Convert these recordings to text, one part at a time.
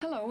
Hello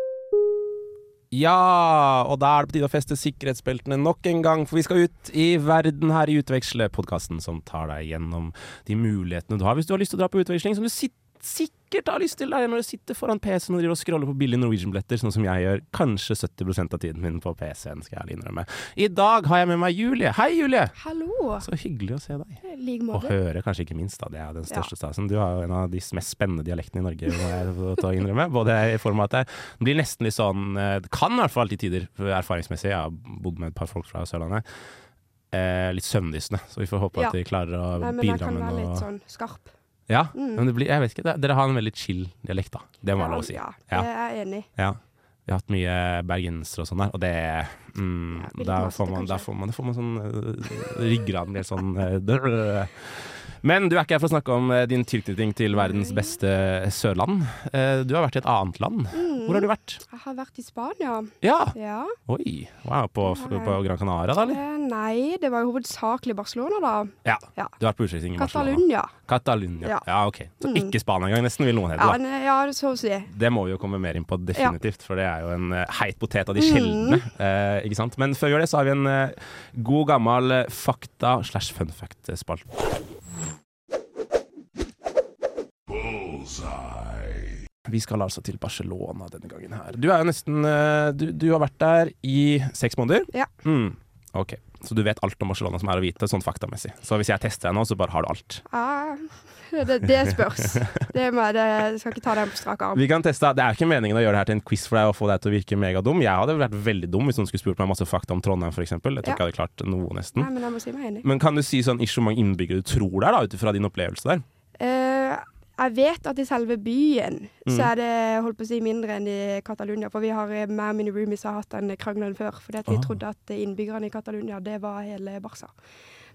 Ja, og da er det på tide å feste sikkerhetsbeltene nok en gang, for vi skal ut i verden her i Utveksle, podkasten som tar deg gjennom de mulighetene du har hvis du har lyst til å dra på utveksling, som du sit sikkert har lyst til der når du sitter foran PC-en og driver og scroller på billige Norwegian-billetter, sånn som jeg gjør kanskje 70 av tiden min på PC-en, skal jeg ærlig innrømme. I dag har jeg med meg Julie. Hei, Julie! Hallo! Så hyggelig å se deg. I like Og måte. høre, kanskje ikke minst, da. Det er den største stasen. Du har jo en av de mest spennende dialektene i Norge, må jeg få ta og innrømme. Både i form av at det blir nesten litt sånn eh, Det kan i hvert fall til tider, eh, erfaringsmessig. Jeg har bodd med et par folk fra Sørlandet. Eh, litt søvndyssende, så vi får håpe Ja. at de klarer å Nei, men jeg bidra kan med være noe litt sånn skarp. Ja, men det blir, jeg vet ikke, det- dere har en veldig chill dialekt, da. Det må jeg Ja, lov å si. Ja, Ja. det er jeg enig i. Ja. Vi har hatt mye bergensere og sånn der, og det mm, Ja, litt Da masete, får man, da kanskje. får man, da får man sånn øh, Ryggraden blir sånn øh, drrrr. Men du er ikke her for å snakke om øh, din tilknytning til verdens beste sørland. Eh, Du har vært i et annet land. Hvor har du vært? Jeg har vært i Spania. Ja! Mm. Ja. Oi! Wow, på, f- på Gran Canaria, da, eller? Eh, nei, det var jo hovedsakelig Barcelona, da. Ja. Ja. Du har vært på utveksling i Barcelona. Catalunya. Catalunya. Ja. Mm. Ja, OK. Så ikke Spania engang, nesten, vil noen hete. Ja, da. men, eh, ja, så å si. Det må vi jo komme mer inn på definitivt, for det er jo en eh, heit potet av de sjeldne. eh, ikke sant? Men før vi gjør det, så har vi en eh, god gammel eh, fakta slash fun eh, fact-spalt. Vi skal altså til Barcelona denne gangen her. Du er jo nesten eh, Du, du har vært der i seks måneder? Ja. Mm. Ok, så du vet alt om Barcelona som er å vite, sånn faktamessig. Så hvis jeg tester deg nå, så bare har du alt. Ja, det, det spørs. Det må jeg, det, jeg skal ikke ta den på strak arm. Vi kan teste. Det er ikke meningen å gjøre det her til en quiz for deg og få deg til å virke megadum. Jeg hadde vært veldig dum hvis noen skulle spurt meg masse fakta om Trondheim, f.eks. Jeg tror ikke Ja. jeg hadde klart noe, nesten. Nei, men jeg må si meg enig. Men kan du si sånn ikke hvor mange innbyggere du tror det er, da, ut ifra din opplevelse der? Eh, jeg vet at i selve byen Mm. så er det holdt på å si mindre enn i Catalunya. For vi har eh, mer mine roomies har hatt den krangelen før. Fordi at vi Ah. trodde at innbyggerne i Catalunya, det var hele Barca.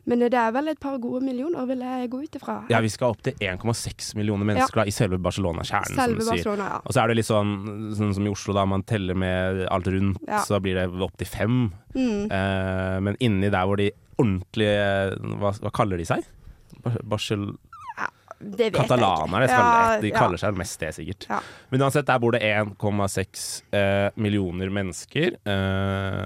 Men eh, det er vel et par gode millioner, vil jeg gå ut ifra. Ja, vi skal opp til 1,6 millioner mennesker da, i selve Barcelona-kjernen, som Selve du sier. Barcelona, ja. Og så er det litt sånn, sånn som i Oslo, da man teller med alt rundt, Ja. så da blir det opp til fem. Mm, Eh, men inni der hvor de ordentlige Hva, hva kaller de seg? Bar Barcel Det vet Katalanerne jeg skal ikke. de kaller seg mest det, sikkert. Ja. Men uansett, der bor det 1,6 eh, millioner mennesker. Eh,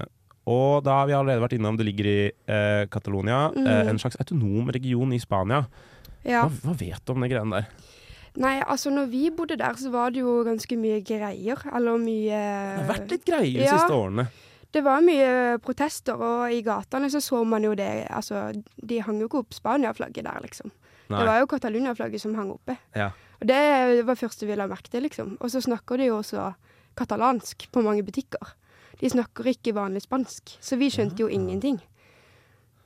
og da har vi allerede vært innom det ligger i eh, Catalonia, eh, en slags autonom region i Spania. Mm. ja. Hva, hva vet du om de greiene der? Nei, altså når vi bodde der, så var det jo ganske mye greier. Eller mye Det har vært litt greier de ja. siste årene. Det var mye protester, og i gatene så så man jo det Altså, de hang jo ikke opp Spania-flagget der, liksom. Nei. Det var jo Catalunya-flagget som hang oppe. Ja. Og det var første vi la merke til, liksom. Og så snakker de jo også katalansk på mange butikker. De snakker ikke vanlig spansk, så vi skjønte jo ingenting.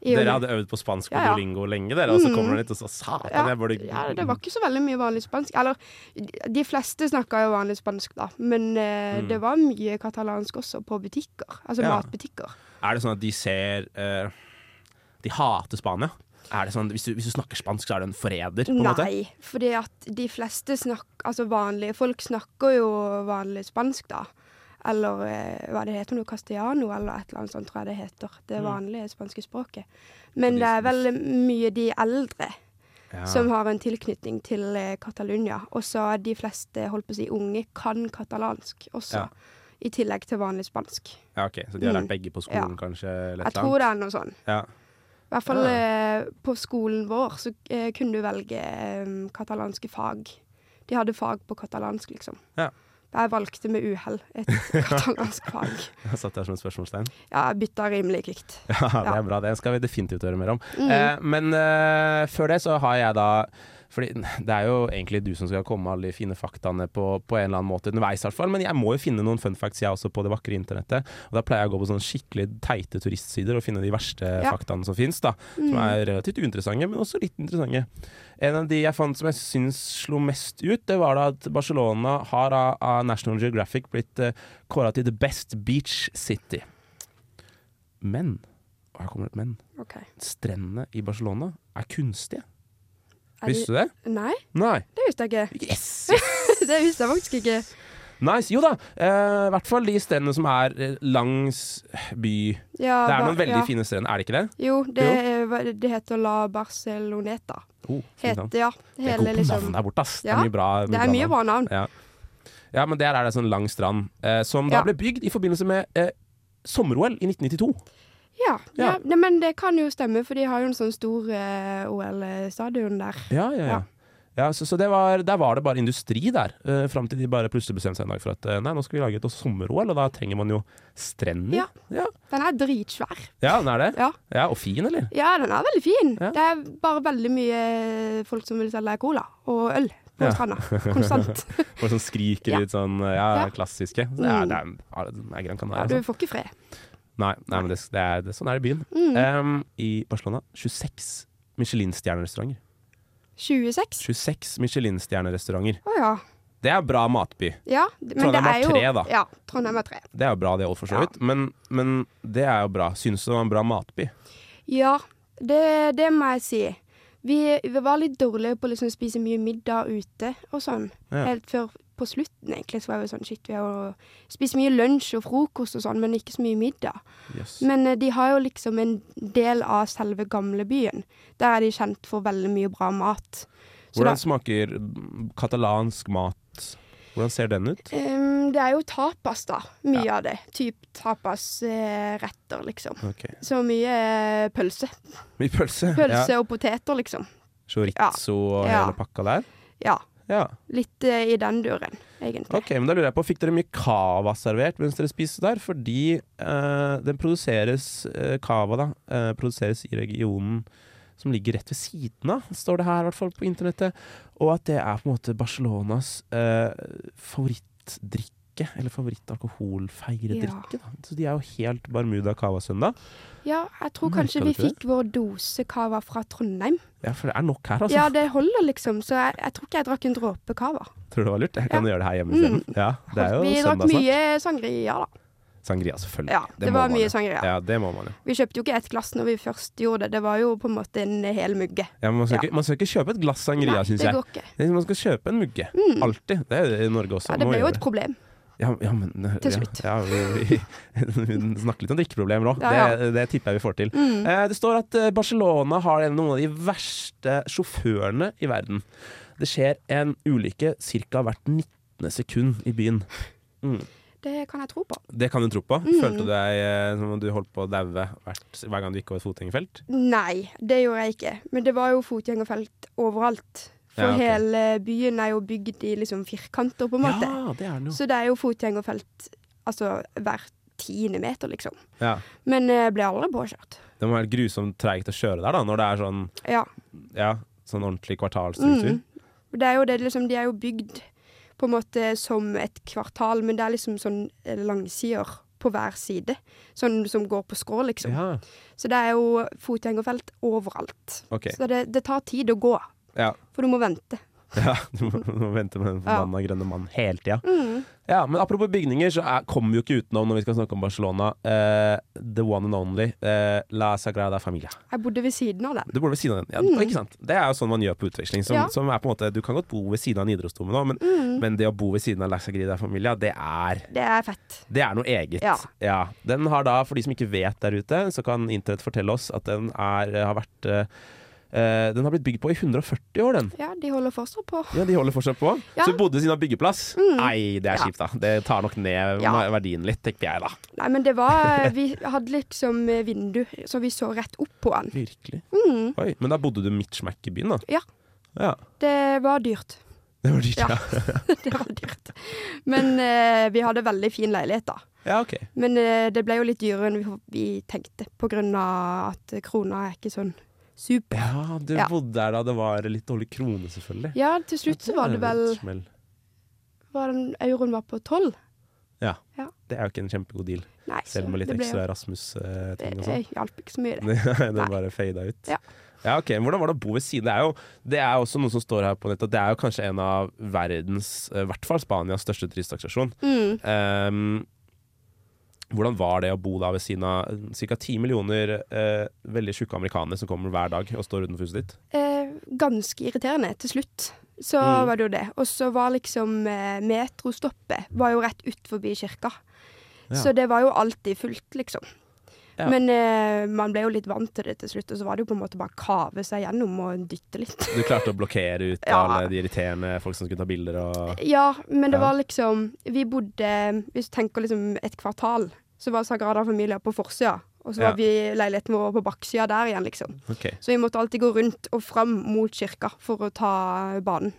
I og med- Dere hadde øvd på spansk på Ja, ja. Duolingo lenge, dere, og så kommer dere hit og så Satan, ja, jeg burde ja, det var ikke så veldig mye vanlig spansk. Eller, de- de fleste snakka jo vanlig spansk, da. Men eh, det var mye katalansk også på butikker. Altså Ja. matbutikker. Er det sånn at de ser eh, De hater Spania? Er det sånn, hvis, du, hvis du snakker spansk, så er du en forræder? på en måte? Nei, fordi at de fleste snakker Altså vanlige folk snakker jo vanlig spansk, da. Eller eh, hva det heter nå, castellano eller et eller annet sånt, tror jeg det heter. Det Mm. vanlige spanske språket. Men de- det er vel mye de eldre Ja. som har en tilknytning til eh, Catalunya. Og så er de fleste, holdt på å si, unge kan katalansk også. Ja. I tillegg til vanlig spansk. Ja, ok, Så de har lært Mm. begge på skolen, Ja. kanskje? Eller Jeg tror det er noe sånn. Ja. I hvert fall Ja. eh, på skolen vår så eh, kunne du velge eh, katalanske fag. De hadde fag på katalansk, liksom. Ja. Jeg valgte med uhell et katalansk fag. Jeg satt der som et spørsmålstegn. Ja, jeg bytta rimelig kvikt. Ja, Det Ja. Mm. er bra, det skal vi definitivt høre mer om. Eh, men eh, før det så har jeg da Fordi det er jo egentlig du som skal komme med alle de fine faktaene på, på en eller annen måte underveis, i hvert fall. Men jeg må jo finne noen fun facts, jeg også, på det vakre internettet. Og da pleier jeg å gå på sånne skikkelig teite turistsider og finne de verste Ja. Mm. faktaene som fins, da. Som er relativt uinteressante, men også litt interessante. En av de jeg fant som jeg syns slo mest ut, det var da at Barcelona har av, av National Geographic blitt uh, kåra til the best beach city. Men og her kommer det et men. OK. Strendene i Barcelona er kunstige. Er Visste du det? Nei, Nei. det visste jeg ikke. Yes! det visste jeg faktisk ikke. Nice. Jo da, eh, i hvert fall de strendene som er eh, langs by. Det Ja, er hva- noen veldig ja. fine strender, er det ikke det? Jo, det, er- hva- det heter La Barceloneta. Oh, fint navn. Heter, ja. Det er god Hele, på liksom, navn der borte, ass. Ja, det er mye bra, det er mye navn. bra navn. Ja. ja, men der er det sånn lang strand, eh, som da Ja. ble bygd i forbindelse med eh, sommer-OL i 1992. Ja, Ja. ja. Nei, men det kan jo stemme, for de har jo en sånn stor eh, OL-stadion der. Ja, ja, ja. Ja. ja så, så det var, der var det bare industri der, uh, fram til de bare plutselig bestemte seg en dag for at eh, nei, nå skal vi lage et sommer-OL, og da trenger man jo strender. Ja. ja. Den er dritsvær. Ja, den er det. Ja. Ja, og fin, eller? ja, den er veldig fin. Ja. Det er bare veldig mye eh, folk som vil selge cola og øl på Ja. stranda. Konstant. Folk som skriker Ja. litt sånn ja, Ja. Mm. klassiske. Så det er, det er, ja, det er Gran Canaria. Du altså. får ikke fred. Nei, nei, men det, det er, det, sånn er det i byen. Mm. Um, I Barcelona 26 Michelin-stjernerestauranter. 26? 26 Michelin-stjernerestauranter. Å ja. Det er bra matby. ja. d- Men Trondheim det har er jo, tre, da. Ja, Trondheim har tre. Det er jo bra, det òg, for så Ja. vidt. Men, men det er jo bra. Synes du det var en bra matby? Ja, det, det må jeg si. Vi, vi var litt dårlige på å liksom spise mye middag ute og sånn. Ja. Helt før på slutten, egentlig, så var vi sånn shit, vi har jo spist mye lunsj og frokost og sånn, men ikke så mye middag. Yes. Men eh, de har jo liksom en del av selve gamlebyen. Der er de kjent for veldig mye bra mat. Så da- Hvordan smaker mm, katalansk mat? Hvordan ser den ut? Ehm, det er jo tapas, da. Mye Ja. av det. Typ tapasretter, liksom. Ok. Så mye eh, pølse. Mye pølse. Pølse Ja. og poteter, liksom. Chorizo og Ja. hele pakka der. Ja. Ja. Litt eh, i den duren, egentlig. Ok, men da lurer jeg på, Fikk dere mye cava servert mens dere spiste der? Fordi eh, den produseres eh, Cava da, eh, produseres i regionen som ligger rett ved siden av, står det her i hvert fall på internettet. Og at det er på en måte Barcelonas eh, favorittdrikke, eller favorittalkoholfeiredrikke. da. Så de er jo helt Barmuda Cava-søndag. Ja, jeg tror Merker du kanskje vi ikke det? fikk vår dose cava fra Trondheim. Ja, for det er nok her, altså. Ja, det holder, liksom. Så jeg, jeg tror ikke jeg drakk en dråpe cava. Tror du det var lurt? Jeg kan Ja. Mm. gjøre det her hjemme isteden. Ja, det er jo Vi drakk søndag snart. mye sangria, da. Sangria, selvfølgelig. Ja, det må var man mye jo. sangria. Ja, det må man jo. Vi kjøpte jo ikke ett glass når vi først gjorde det. Det var jo på en måte en hel mugge. Ja, men man, skal Ja. Ikke, man skal ikke kjøpe et glass sangria, Nei, syns det jeg. går ikke. Det er som om man skal kjøpe en mugge. Alltid. Det er jo det i Norge også. Ja, det Må ble jo gjøre et problem. ja, ja, men, eh, Til ja, slutt. Ja, vi, vi snakker litt om drikkeproblemer òg. Ja, ja. Mm. Det, det tipper jeg vi får til. Eh, det står at eh, Barcelona har en- noen av de verste sjåførene i verden. Det skjer en ulykke ca. hvert 19. sekund i byen. Det kan jeg tro på. Det kan du tro på. Mm. Følte du deg eh, som om du holdt på å daue hvert- hver gang du gikk over et fotgjengerfelt? Nei, det gjorde jeg ikke. Men det var jo fotgjengerfelt overalt. For Ja, ok. hele byen er jo bygd i liksom firkanter, på en måte. Ja, det er den jo. Så det er jo fotgjengerfelt altså hver tiende meter, liksom. Ja. Men jeg ble aldri påkjørt. Det må være grusomt treigt å kjøre der, da, når det er sånn, Ja. ja, sånn ordentlig Mm. kvartalstruktur. Det er jo det, liksom, de er jo bygd på en måte som et kvartal, men det er liksom sånn eh, langsider på hver side. Sånn som går på skrå, liksom. Ja. Så det er jo fotgjengerfelt overalt. Ok. Så det, det tar tid å gå, ja. for du må vente. Ja, du må, du må vente med den forbanna grønne mannen hele tida. Mm. Ja, men apropos bygninger, så er, kommer vi jo ikke utenom når vi skal snakke om Barcelona. eh, the one and only eh, La Sagrada Familia. Jeg bodde ved siden av den. Du bor ved siden av den. Ja, ikke sant? Det er jo sånn man gjør på utveksling. Som, Mm. Ja. Mm. som er på en måte, du kan godt bo ved siden av Nidarosdomen òg, men, men det å bo ved siden av La Sagrada Familia, det er Det er fett. det er noe eget. Ja. Ja. Den har da, for de som ikke vet der ute, så kan internett fortelle oss at den er, har vært eh, eh, Den har blitt bygd på i 140 år, den. Ja, de holder fortsatt på. Ja, De holder fortsatt på. Ja. Mm. Så vi bodde ved siden av byggeplass. Nei, det er Ja. kjipt, da. Det tar nok ned Ja. verdien litt, tenker jeg da. Nei, men det var Vi hadde liksom eh, vindu, så vi så rett opp på den. Virkelig. Mm. Oi, Men da bodde du midt smack i byen, da? Ja. Ja. Det var dyrt. Det var dyrt, Ja. ja. det var dyrt. Men eh, vi hadde veldig fin leilighet, da. Ja, ok. Men eh, det ble jo litt dyrere enn vi, vi tenkte, på grunn av at krona er ikke sånn Super. Ja, du Ja. bodde der da det var litt dårlig krone, selvfølgelig. Ja, til slutt så var det er vel et smell. var den, Euroen var på tolv. Ja. Ja. Det er jo ikke en kjempegod deal, Nei, selv med litt det ble jo- ekstra Rasmus-ting og Det sånn. det hjalp ikke så mye, det. Nei, Den Nei. bare fada ut. Ja. Ja, ok, men Hvordan var det å bo ved siden? Det er jo det er også noe som står her på nettet. at Det er jo kanskje en av verdens, eh, i hvert fall Spanias, største turistattraksjon. Mm. Ehm, hvordan var det å bo da ved siden av ca. ti millioner eh, veldig tjukke amerikanere som kommer hver dag og står utenfor huset ditt? Eh, ganske irriterende til slutt. Så Mm. var det jo det. Og så var liksom eh, metrostoppet var jo rett ut forbi kirka. Ja. Så det var jo alltid fullt, liksom. Ja. Men eh, man ble jo litt vant til det til slutt, og så var det jo på en måte bare kave seg gjennom og dytte litt. Du klarte å blokkere ut Ja. Eh. alle de irriterende folk som skulle ta bilder og ja, men det Ja. var liksom Vi bodde, hvis du tenker liksom et kvartal, så var Sagrada Familia på forsida. Og så Ja. var vi leiligheten vår på baksida der igjen, liksom. Ok. Så vi måtte alltid gå rundt og fram mot kirka for å ta banen.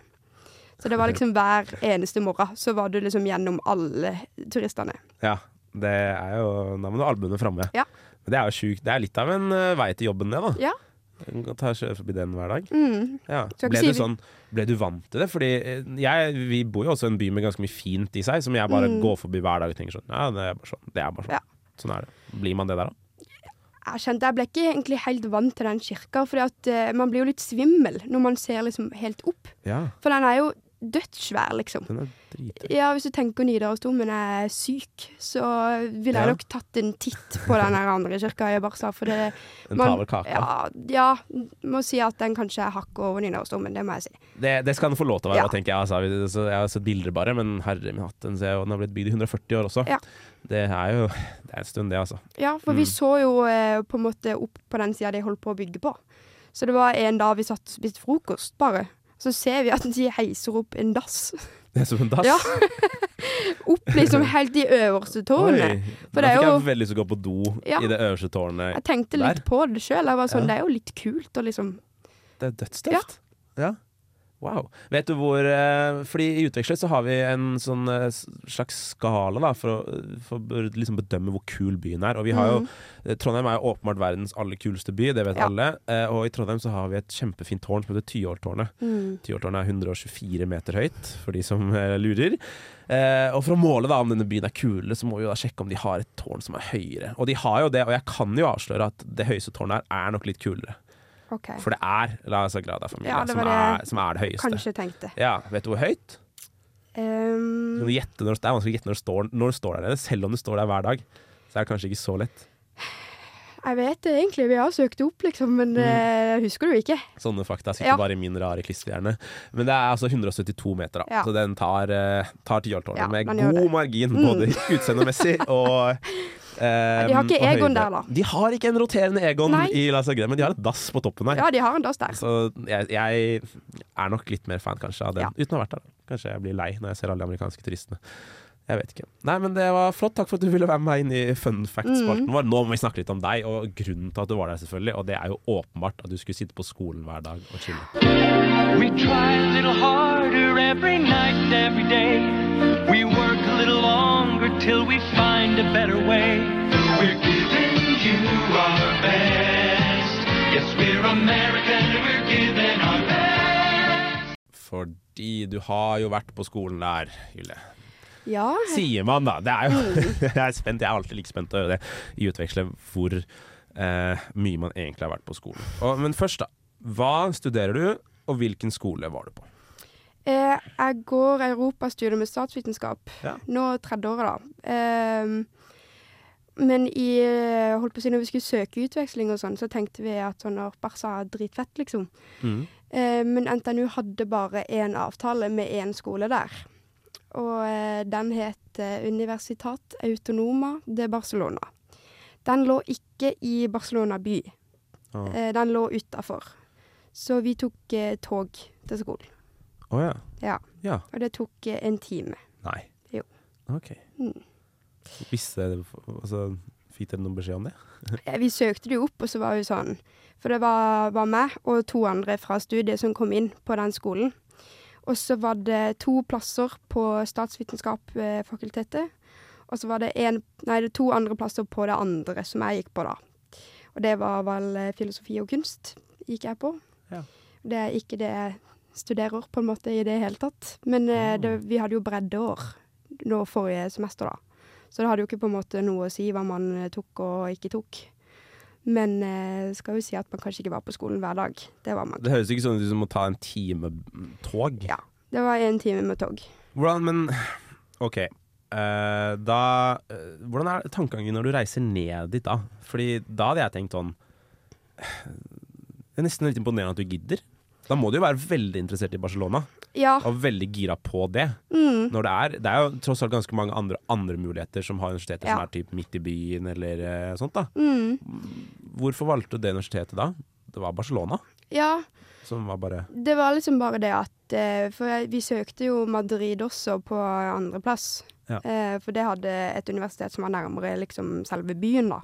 Så det var liksom hver eneste morgen så var du liksom gjennom alle turistene. Ja, det er jo Da må du ha albuene framme. Ja. Men det er jo sjukt. Det er litt av en eh, vei til jobben, det, da. Ja. Du kan Ta og kjøre forbi den hver dag. Mm. Ja. Skal ikke Ble, si du vi- sånn, ble du vant til det? Fordi eh, jeg, vi bor jo også i en by med ganske mye fint i seg, som jeg bare går forbi hver dag og tenker sånn Ja, det er bare sånn. Det er bare sånn. Mm. Ja. Sånn er det. Blir man det der, da? Jeg kjente jeg ble ikke egentlig helt vant til den kirka, for man blir jo litt svimmel når man ser liksom helt opp. Ja. For den er jo dødssvær, liksom. Den er drithøy. Ja, hvis du tenker Nidarosdomen er syk, så ville Ja. jeg nok tatt en titt på den her andre kirka i Barca, for det Den man- tar vel kaka. Ja, ja, må si at den kanskje er hakket over Nidarosdomen, det må jeg si. Det, det skal den få lov til å være, Ja. da, tenker jeg. Altså, Vi- så jeg har sett bilder bare, men herre min hatt, den, ser, jeg- og den har blitt bygd i 140 år også. Ja. Det er jo Det er en stund, det, altså. Ja, for vi så jo eh, på en måte opp på den sida de holdt på å bygge på. Så det var en dag vi satt og spiste frokost, bare. Så ser vi at de heiser opp en dass. Det er som en dass. Ja. Opp liksom helt i øverste tårnet. For For det er fikk jo jeg veldig lyst til å gå på do Ja. i det øverste tårnet. Jeg tenkte Der. litt på det sjøl. Jeg var sånn, Ja. det er jo litt kult å liksom Det er dødstøft. Ja. Wow. Vet du hvor eh, Fordi i Utvekslet så har vi en sånn eh, s- slags skala da, for å, for å liksom bedømme hvor kul byen er. Og vi har jo eh, Trondheim er jo åpenbart verdens aller kuleste by, det vet Mm. Ja. alle. Eh, og i Trondheim så har vi et kjempefint tårn som heter Tyholttårnet. mm. Tyholttårnet er 124 meter høyt, for de som eh, lurer. Eh, og for å måle da om denne byen er kule, så må vi jo da sjekke om de har et tårn som er høyere. Og de har jo det, og jeg kan jo avsløre at det høyeste tårnet her er nok litt kulere. OK. For det er La Sagrada Familia Ja, det som, var er, det- som er det høyeste. Kanskje tenkte. Ja, Vet du hvor høyt? Du Um, kan gjette når, det er vanskelig å gjette når det står, når det står der nede, selv om det står der hver dag. Så er det kanskje ikke så lett. jeg vet det egentlig, vi har søkt det opp, liksom, men Mm. eh, jeg husker det jo ikke. Sånne fakta sitter Ja. bare i min rare klisterhjerne. Men det er altså 172 meter, da. Ja. Så den tar, eh, tar tiholtårnet Ja, med den gjør god det. Mm. margin, både utseendemessig og eh, de har ikke og Egon høyde. der, da. De har ikke en roterende Egon Nei. i La Sagrada, men de har et dass på toppen der. Ja, de har en dass der. Så jeg, jeg er nok litt mer fan kanskje av den, Ja. uten å ha vært der. da. Kanskje jeg blir lei når jeg ser alle de amerikanske turistene. Jeg vet ikke. Nei, men det var flott. Takk for at du ville være med meg inn i fun fact-spalten vår. Nå må vi snakke litt om deg, og grunnen til at du var der, selvfølgelig. Og det er jo åpenbart at du skulle sitte på skolen hver dag og chille. We try a little harder every night, every day. We work a little longer till we find a better way. We're giving you our best. Yes, we're American, we're giving our best. Fordi du har jo vært på skolen der, Julie. Ja, Sier man, da. Det er jo Mm. Jeg er spent. Jeg er alltid like spent å høre det i utvekslet hvor eh, mye man egentlig har vært på skolen. Og, men først, da. Hva studerer du, og hvilken skole var du på? Eh, jeg går europastudium med statsvitenskap. Ja. Nå tredje året, da. Ehm, men i, eh, holdt på å si, når vi skulle søke utveksling og sånn, så tenkte vi at sånn, «Åh, Barca er dritfett, liksom. Eh, men NTNU hadde bare én avtale med én skole der. Og eh, den het eh, Universitat Autonoma de Barcelona. Den lå ikke i Barcelona by. Ah. Eh, den lå utafor. Så vi tok eh, tog til skolen. Å ja. Ja. Ja. Og det tok eh, en time. Nei. Jo. Ok. Mm. Visste dere altså, Fikk dere noen beskjed om det? Eh, Vi søkte det jo opp, og så var vi sånn For det var, var meg og to andre fra studiet som kom inn på den skolen. Og så var det to plasser på Statsvitenskapsfakultetet. Og så var det, en, nei, det er to andre plasser på det andre som jeg gikk på, da. Og det var vel eh, filosofi og kunst gikk jeg på. Ja. Det er ikke det jeg studerer på en måte i det hele tatt. Men eh, Ah. det, vi hadde jo breddeår nå forrige semester, da. Så det hadde jo ikke på en måte noe å si hva man eh, tok og ikke tok. Men eh, skal jo si at man kanskje ikke var på skolen hver dag. Det var man. Det høres ikke sånn ut som å ta en time tog. Ja. Det var en time med tog. Hvordan, men OK. Eh, da eh, Hvordan er tankegangen når du reiser ned dit da? Fordi da hadde jeg tenkt sånn Det er nesten litt imponerende at du gidder. Da må du jo være veldig interessert i Barcelona Ja. og veldig gira på det. Mm. Når det er Det er jo tross alt ganske mange andre, andre muligheter som har universiteter Ja. som er typ midt i byen eller eh, sånt, da. Mm. Hvorfor valgte du det universitetet da? Det var Barcelona Ja. som var bare Det var liksom bare det at eh, For jeg- vi søkte jo Madrid også på andreplass. Ja. Eh, For det hadde et universitet som var nærmere liksom selve byen, da.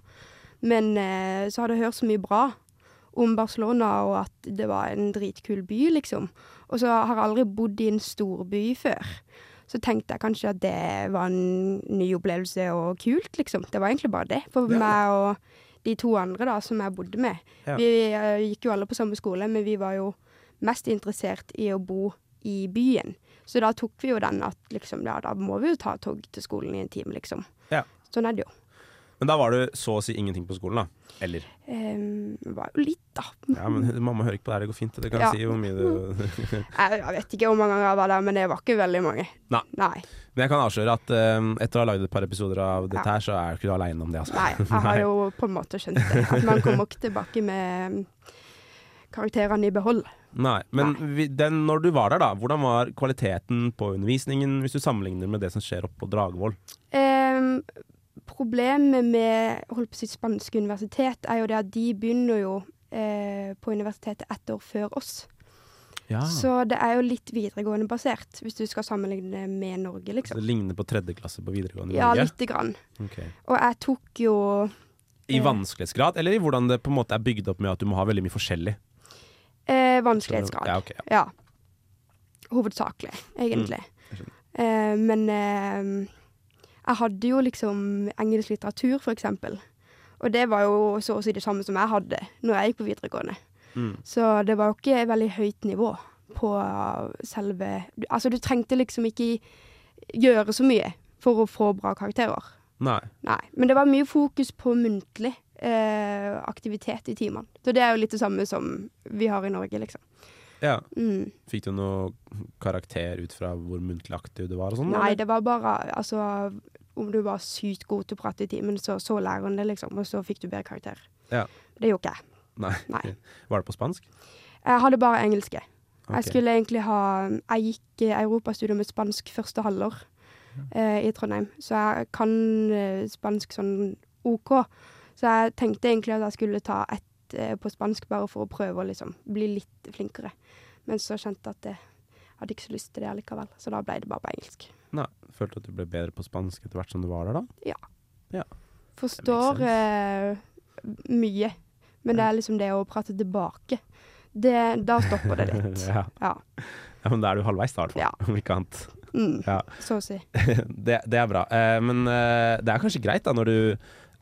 Men eh, så hadde jeg hørt så mye bra om Barcelona, og at det var en dritkul by, liksom. Og så har jeg aldri bodd i en storby før. Så tenkte jeg kanskje at det var en ny opplevelse og kult, liksom. Det var egentlig bare det. For Ja. meg og de to andre da, som jeg bodde med. Ja. Vi eh, gikk jo alle på samme skole, men vi var jo mest interessert i å bo i byen. Så da tok vi jo den at liksom, ja, da må vi jo ta tog til skolen i en time, liksom. Ja. Sånn er det jo. Men da var det så å si ingenting på skolen, da. Eller? Ehm, det var jo litt, da. Ja, men mamma hører ikke på det her, det går fint. Det kan Ja. jeg si hvor mye det Jeg, jeg vet ikke hvor mange ganger jeg var der, men det var ikke veldig mange. Nei. Nei. Men jeg kan avsløre at eh, etter å ha lagd et par episoder av dette Ja. her, så er du ikke aleine om det, altså. Nei, jeg har jo på en måte skjønt det. At man kommer ikke tilbake med mm, karakterene i behold. Nei. Men vi, den, når du var der, da, hvordan var kvaliteten på undervisningen hvis du sammenligner med det som skjer oppe på Dragvoll? Ehm, problemet med holdt på å si, spanske universitet er jo det at de begynner jo eh, på universitetet ett år før oss. Ja. Så det er jo litt videregående basert, hvis du skal sammenligne med Norge, Det liksom. ligner på tredje klasse på videregående? i Ja, Altså, Norge? lite grann. Ok. Og jeg tok jo I vanskelighetsgrad, eller i hvordan det på en måte er bygd opp med at du må ha veldig mye forskjellig? eh, Ja, vanskelighetsgrad. ok, ja. Ja. Hovedsakelig, egentlig. Mm, jeg skjønner. Eh, men eh, jeg hadde jo liksom engelsk litteratur, for eksempel. Og det var jo så å si det samme som jeg hadde når jeg gikk på videregående. Mm. Så det var jo ikke et veldig høyt nivå på selve du- Altså, du trengte liksom ikke gjøre så mye for å få bra karakterer. Nei. Nei. Men det var mye fokus på muntlig eh, aktivitet i timene. Så det er jo litt det samme som vi har i Norge, liksom. Ja. Mm. Fikk du noe karakter ut fra hvor muntlig aktiv du var og sånn? Nei, eller? det var bare Altså, om du var sykt god til å prate i timen, så så læreren det, liksom, og så fikk du bedre karakter. Ja. Det gjorde ikke jeg. Nei. Nei. Var det på spansk? Jeg hadde bare engelske. Ok. Jeg skulle egentlig ha Jeg gikk eh, europastudio med spansk første halvår eh, i Trondheim, så jeg kan eh, spansk sånn OK. Så jeg tenkte egentlig at jeg skulle ta ett eh, på spansk bare for å prøve å liksom bli litt flinkere. Men så kjente jeg at det, jeg hadde ikke så lyst til det allikevel, så da ble det bare på engelsk. Nei. Følte du at du ble bedre på spansk etter hvert som du var der, da? Forstår Det eh, mye, men det er liksom det å prate tilbake. Det, da stopper det litt. ja. Ja. ja, men da er du halvveis, da, i hvert fall. Ja. Om ikke annet. Mm. Ja. Så å si. det, det er bra. Eh, men eh, det er kanskje greit da når du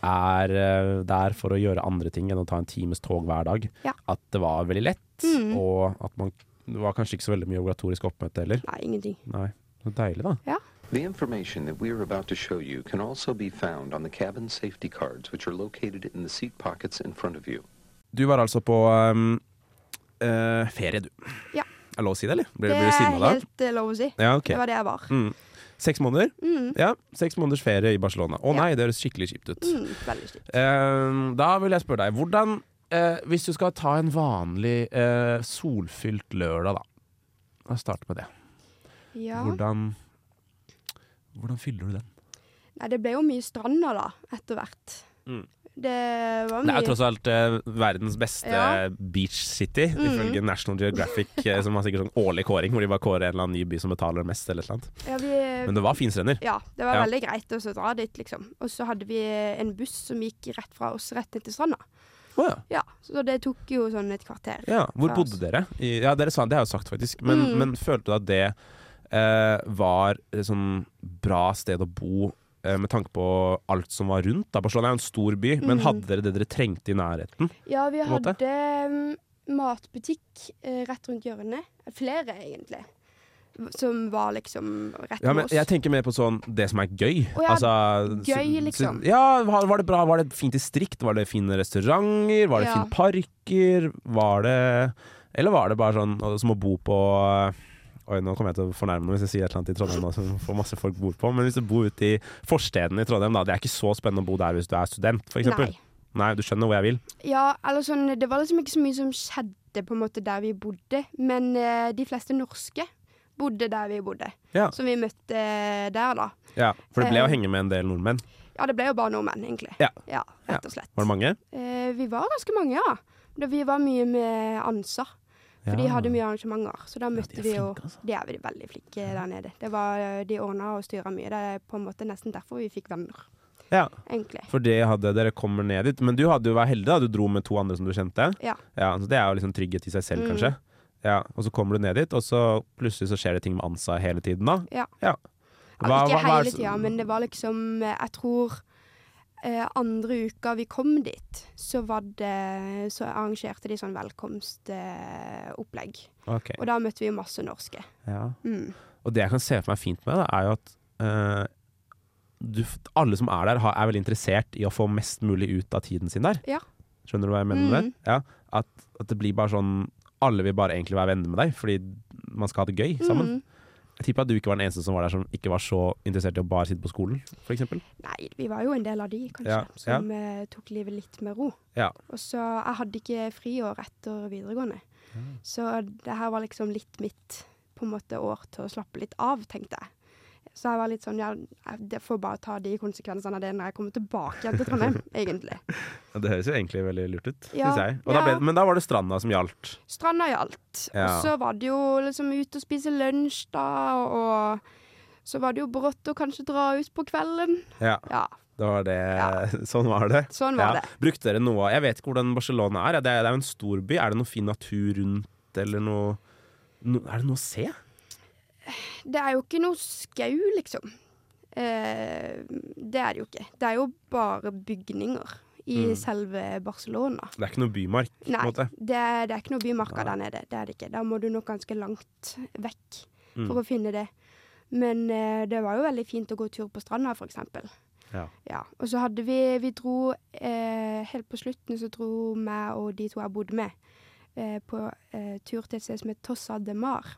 er eh, der for å gjøre andre ting enn å ta en times tog hver dag, Ja. at det var veldig lett, Mm. og at man det var kanskje ikke så veldig mye obligatorisk oppmøte heller. Nei, ingenting. Nei. Så deilig, da. The information that we are about to show you can also be found on the cabin safety cards, which are located in the seat pockets in front of you. Du var altså på um, eh, ferie, du. Ja. Er lov å si det, eller? Blir, Det blir du er sinna da? helt eh, lov å si. Ja, ok. Det var det jeg var. Mm. Seks måneder? Mm. Ja, seks måneders ferie i Barcelona. Å Ja. nei, det høres skikkelig kjipt ut. Mm, veldig kjipt. Eh, da vil jeg spørre deg, hvordan eh, Hvis du skal ta en vanlig eh, solfylt lørdag, da. La oss starte med det. Ja. Hvordan Hvordan fyller du den? Nei, det ble jo mye strander da, etter hvert. Mm. Det var Det er mye. jo tross alt eh, verdens beste Ja. Mm. beach city, ifølge National Geographic, eh, som har sikkert sånn årlig kåring, hvor de bare kårer en eller annen ny by som betaler mest, eller et eller annet. ja, vi, Men det var finstrender. ja, det var Ja. veldig greit å så dra dit, liksom. Og så hadde vi en buss som gikk rett fra oss rett ned til stranda. Å ja. Ja, så det tok jo sånn et kvarter. Ja, Hvor fra bodde oss. dere? I, ja, dere sa, Det har jeg jo sagt, faktisk. Men, Mm. men følte du at det eh, var et sånn bra sted å bo eh, med tanke på alt som var rundt? Da? Barcelona er jo en stor by, men hadde dere det dere trengte i nærheten? Ja, vi på en måte? hadde mm, matbutikk eh, rett rundt hjørnet. Flere, egentlig. Som var liksom rett Ja, med men oss. jeg tenker mer på sånn det som er gøy. Å ja, Altså, gøy, så- liksom. så- Ja, var var det bra? Var det fint distrikt? Var det fine restauranter? Var det Ja. fine parker? Var det Eller var det bare sånn å- som å bo på eh, Oi, nå kommer jeg til å fornærme noen hvis jeg sier et eller annet i Trondheim nå som får masse folk bor på. Men hvis du bor ute i forstedene i Trondheim, da. Det er ikke så spennende å bo der hvis du er student, f.eks. Nei. Nei, du skjønner hvor jeg vil? Ja, eller sånn, det var liksom ikke så mye som skjedde på en måte der vi bodde, men eh, de fleste norske bodde der vi bodde, Ja. som vi møtte eh, der da. ja. For det ble å Eh. henge med en del nordmenn. Ja, det ble jo bare nordmenn, egentlig. Ja. rett og slett. Var det mange? Eh, vi var ganske mange, ja. Da vi var mye med ANSA, for de Ja. hadde mye arrangementer, så da møtte er vi jo... flinke, altså. De er vel veldig flinke der nede. Det var, eh, de ordnet og styret mye. Det er på en måte nesten derfor vi fikk venner, Ja. egentlig. For det hadde, dere kommer ned dit. Men du hadde jo vært heldig, da. Du dro med to andre som du kjente. Ja. Ja, så Det er jo liksom trygghet i seg selv, Mm. kanskje. Ja, Og så kommer du ned dit, og så plutselig så skjer det ting med Ansa hele tiden, da. Ja. Ja, Hva- hva- ikke hva er hele det- tida, men det var liksom eh, Jeg tror eh, andre uka vi kom dit, så var det Så arrangerte de sånn velkomstopplegg. Eh, opplegg. Ok, og da møtte vi jo masse norske. ja. Mm. Og det jeg kan se for meg fint med det, er jo at eh, du, f- alle som er der, har, er veldig interessert i å få mest mulig ut av tiden sin der. Ja. Skjønner du hva jeg mener med Mm. det? Ja, at, at det blir bare sånn Alle vil bare egentlig være venner med deg, fordi man skal ha det gøy sammen. Mm. Jeg tipper at du ikke var den eneste som var der som ikke var så interessert i å bare sitte på skolen, f.eks. Nei, vi var jo en del av de, kanskje, Ja, som eh, tok livet litt med ro. Ja. Og så Jeg hadde ikke friår etter videregående, Ah. så det her var liksom litt mitt på en måte år til å slappe litt av, tenkte jeg. Så jeg var litt sånn, ja, jeg jeg får bare ta de konsekvensene av det når jeg kommer tilbake igjen til Trondheim, egentlig. Ja, Det høres jo egentlig veldig lurt ut, Ja, synes jeg. Og da ja. ble, men da var det stranda som gjaldt. Stranda gjaldt. Ja. Og så var det jo liksom ut og spise lunsj, da, og så var det jo brått å kanskje dra ut på kvelden. Ja, Ja. det var det. Ja. Sånn var det. Sånn var ja. det. Brukte dere noe av Jeg vet ikke hvordan Barcelona er. ja, Det er, det er jo en storby. Er det noe fin natur rundt, eller noe no, Er det noe å se? Det er jo ikke noe skau, liksom. Eh, det er det jo ikke. Det er jo bare bygninger i selve Barcelona. Det er ikke noe bymark, på Nei, en måte. det, det er ikke noe bymarka der nede. Det er det ikke. Da må du nok ganske langt vekk Mm. for å finne det. Men eh, det var jo veldig fint å gå tur på stranda, for eksempel. Ja. Ja, og så hadde vi Vi dro eh, Helt på slutten så dro meg og de to jeg bodde med, eh, på eh, tur til et sted som heter Tossa de Mar.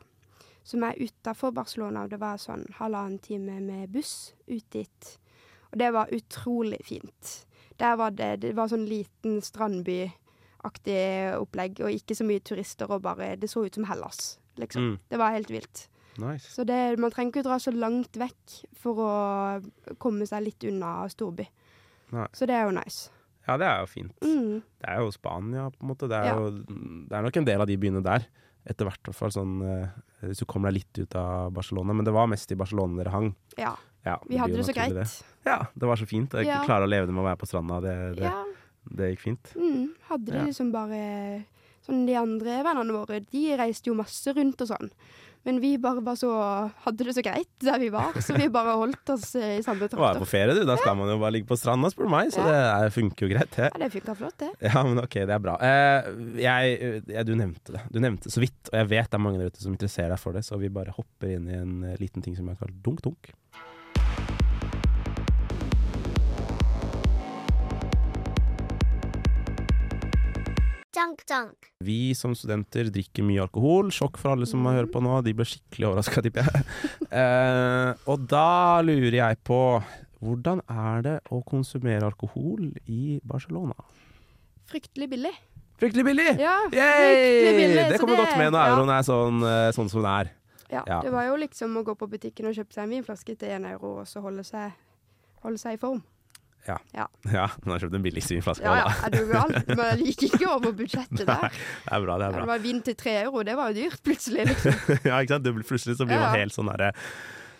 Som er utafor Barcelona, og det var sånn halvannen time med buss ut dit. Og det var utrolig fint. Der var det Det var sånn liten strandbyaktig opplegg, og ikke så mye turister, og bare Det så ut som Hellas, liksom. Mm. Det var helt vilt. Nice. Så det, man trenger ikke dra så langt vekk for å komme seg litt unna storby. Nei. Så det er jo nice. Ja, det er jo fint. Mm. Det er jo Spania, på en måte. Det er, Ja. jo, det er nok en del av de byene der. Etter hvert, i hvert fall. Sånn, eh, hvis du kommer deg litt ut av Barcelona. Men det var mest i Barcelona dere hang. Ja. Ja, Vi blir hadde jo det så naturlig greit. Ja, det var så fint. Jeg Ja. klarer å leve det med å være på stranda. Det, det, Ja. det gikk fint. Mm. Hadde det Ja. liksom bare Sånn de andre vennene våre, de reiste jo masse rundt og sånn. Men vi bare var så Hadde det så greit der vi var, så vi bare holdt oss eh, i samme Du er på trakter. ferie, du. Da skal man jo bare ligge på stranda, spør du meg. Så det er- funker jo greit, det. Ja, det funka flott, det. Ja, men ok, det er bra. Eh, jeg, ja, du nevnte det. Du nevnte det så vidt, og jeg vet det er mange der ute som interesserer deg for det, så vi bare hopper inn i en eh, liten ting som jeg kaller dunk-dunk. Dunk dunk. Vi som studenter drikker mye alkohol. Sjokk for alle som Mm. hører på nå. De ble skikkelig overraska, tipper jeg. Eh, og da lurer jeg på hvordan er det å konsumere alkohol i Barcelona? Fryktelig billig. Fryktelig billig! Ja, fryktelig Yay! billig, Det så kommer godt med når ja. euroen er sånn, eh, sånn som den er. Ja, Ja. Det var jo liksom å gå på butikken og kjøpe seg en vinflaske til én euro, og så holde seg, holde seg i form. Ja. Ja. Ja, men har kjøpt den billigste vinflaska. Ja ja, da. er du gal? Man gikk ikke over budsjettet Nei, der. det er bra, det er Ja, bra. det var vin til tre euro, det var jo dyrt plutselig. Liksom. ja, ikke sant? Det blir, plutselig så blir Ja, man ja. helt sånn derre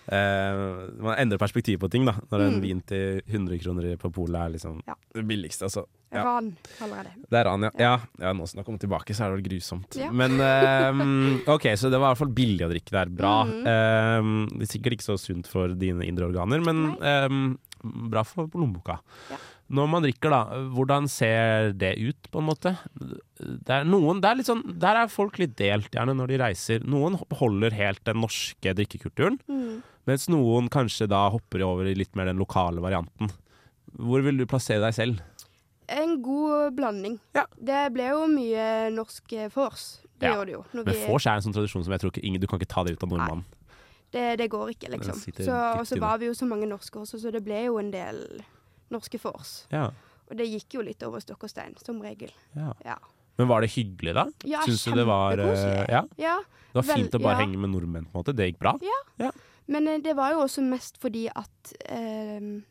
eh, Man endrer perspektiv på ting, da. Når en vin til 100 kroner på polet er liksom Mm. Ja. det billigste, altså. Ja. Ran kaller jeg det. Det er han, ja. ja. ja nå som det har kommet tilbake, så er det vel grusomt. Ja. Men eh, OK, så det var i hvert fall billig å Ehm, Mhm. drikke der. Bra. Eh, det er sikkert ikke så sunt for dine indre organer, men eh, bra for lommeboka. Ja. Når man drikker, da, hvordan ser det ut, på en måte? Det er noen, det er litt sånn, der er folk litt delt, gjerne, når de reiser. Noen beholder helt den norske drikkekulturen, Mm. mens noen kanskje da hopper over i litt mer den lokale varianten. Hvor vil du plassere deg selv? En god blanding. Ja. Det ble jo mye norsk eh, vors. Det Ja. gjorde det jo. Når Men vi- vors er en sånn tradisjon som jeg tror ikke ingen, du kan ikke ta det ut av nordmannen. det, det går ikke, Den liksom. sitter Så, dypt og så inne. var vi jo så mange norske også, så det ble jo en del norske vors. Ja, Og det gikk jo litt over stokk og stein, som regel. ja. Ja, Men var det hyggelig, da? Ja, Syns du det var eh, kjempekoselig. ja? ja. Det var fint Vel, å bare ja. henge med nordmenn, på en måte. Det gikk bra? Men eh, det var jo også mest fordi at ehm,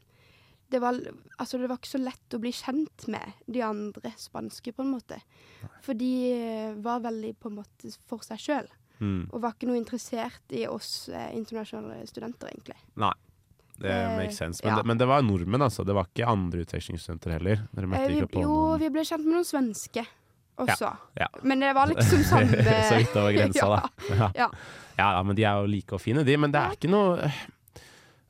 det var, altså det var ikke så lett å bli kjent med de andre spanske, på en måte. For de eh, var veldig på en måte for seg sjøl, Mm. og var ikke noe interessert i oss eh, internasjonale studenter, egentlig. Nei. Det Eh, makes sense. Men, ja. det, men det var nordmenn, altså. Det var ikke andre utvekslingsstudenter heller. Dere Eh, møtte vi, ikke på jo, noen vi ble kjent med noen svenske også. ja. Men det var liksom samme Så vidt over grensa, ja. da. Ja. Ja. ja da, men de er jo like og fine, de. Men det er ikke noe eh,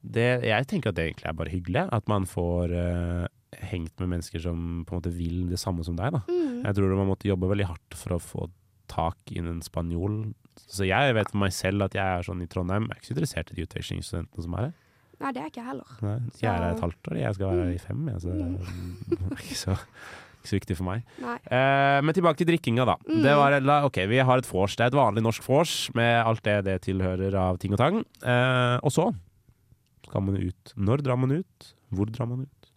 det, Jeg tenker at det egentlig er bare hyggelig. At man får eh, hengt med mennesker som på en måte vil det samme som deg, da. Mm. Jeg tror man måtte jobbe veldig hardt for å få tak i en spanjol. Så jeg vet for meg selv at jeg er sånn i Trondheim. Jeg er ikke så interessert i de utvekslingsstudentene som er her. Nei, det er ikke jeg heller. Nei, jeg er her et Så- halvt år, jeg skal være her i fem. Jeg, så det Mm. er ikke så, ikke så viktig for meg. Nei. Eh, men tilbake til drikkinga, da. Mm. Det var, la- ok, Vi har et vors. Det er et vanlig norsk vors med alt det det tilhører av ting og tang. Eh, og så skal man ut. Når drar man ut? Hvor drar man ut?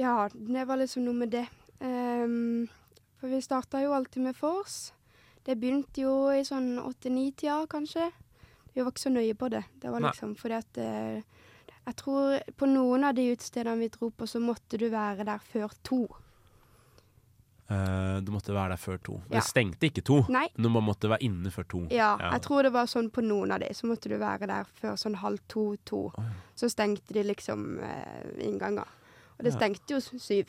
Ja, det var liksom noe med det. Ehm, for vi starta jo alltid med vors. Det begynte jo i sånn åtte-ni-tida, kanskje. Vi var ikke så nøye på det. Det var Nei. liksom fordi at eh, Jeg tror på noen av de utestedene vi dro på, så måtte du være der før to. du Eh, måtte være der før to. Ja. Det stengte ikke to. Nei. men Man måtte være inne før to. Ja, jeg tror det var sånn på noen av de, så måtte du være der før sånn halv to-to. Så stengte de liksom eh, innganger. Og det Ja. stengte jo s- syv.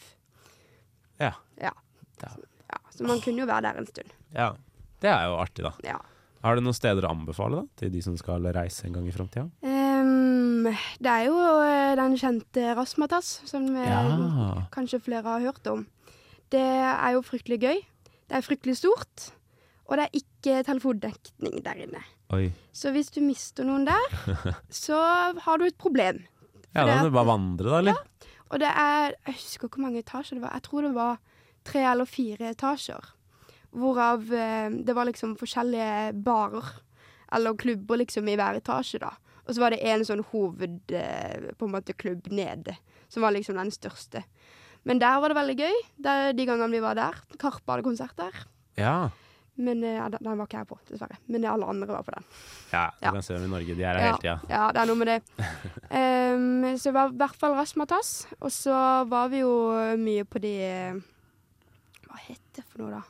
Ja. Ja. Da. ja. Så man kunne jo være der en stund. Ja. Det er jo artig, da. Ja. Har du noen steder å anbefale da, til de som skal reise en gang i framtida? Ehm, det er jo eh, den kjente Rasmatas, som eh, Ja. kanskje flere har hørt om. Det er jo fryktelig gøy. Det er fryktelig stort. Og det er ikke telefondekning der inne. Oi. Så hvis du mister noen der, så har du et problem. Ja, Fordi da at- må du bare vandre, da, eller? Og det er Jeg husker ikke hvor mange etasjer det var. Jeg tror det var tre eller fire etasjer. Hvorav eh, det var liksom forskjellige barer eller klubber liksom i hver etasje, da. Og så var det en sånn hoved eh, på en måte klubb nede, som var liksom den største. Men der var det veldig gøy, der, de gangene vi var der. Karpe hadde konsert der. Ja. Men eh, ja, den den var ikke jeg på, dessverre. Men alle andre var på den. ja du Ja. kan se dem i Norge. De er her Ja, hele tida. ja, det er noe med det. Ehm, så det var i hvert fall Rasmatas. Og så var vi jo mye på de Hva het det for noe, da?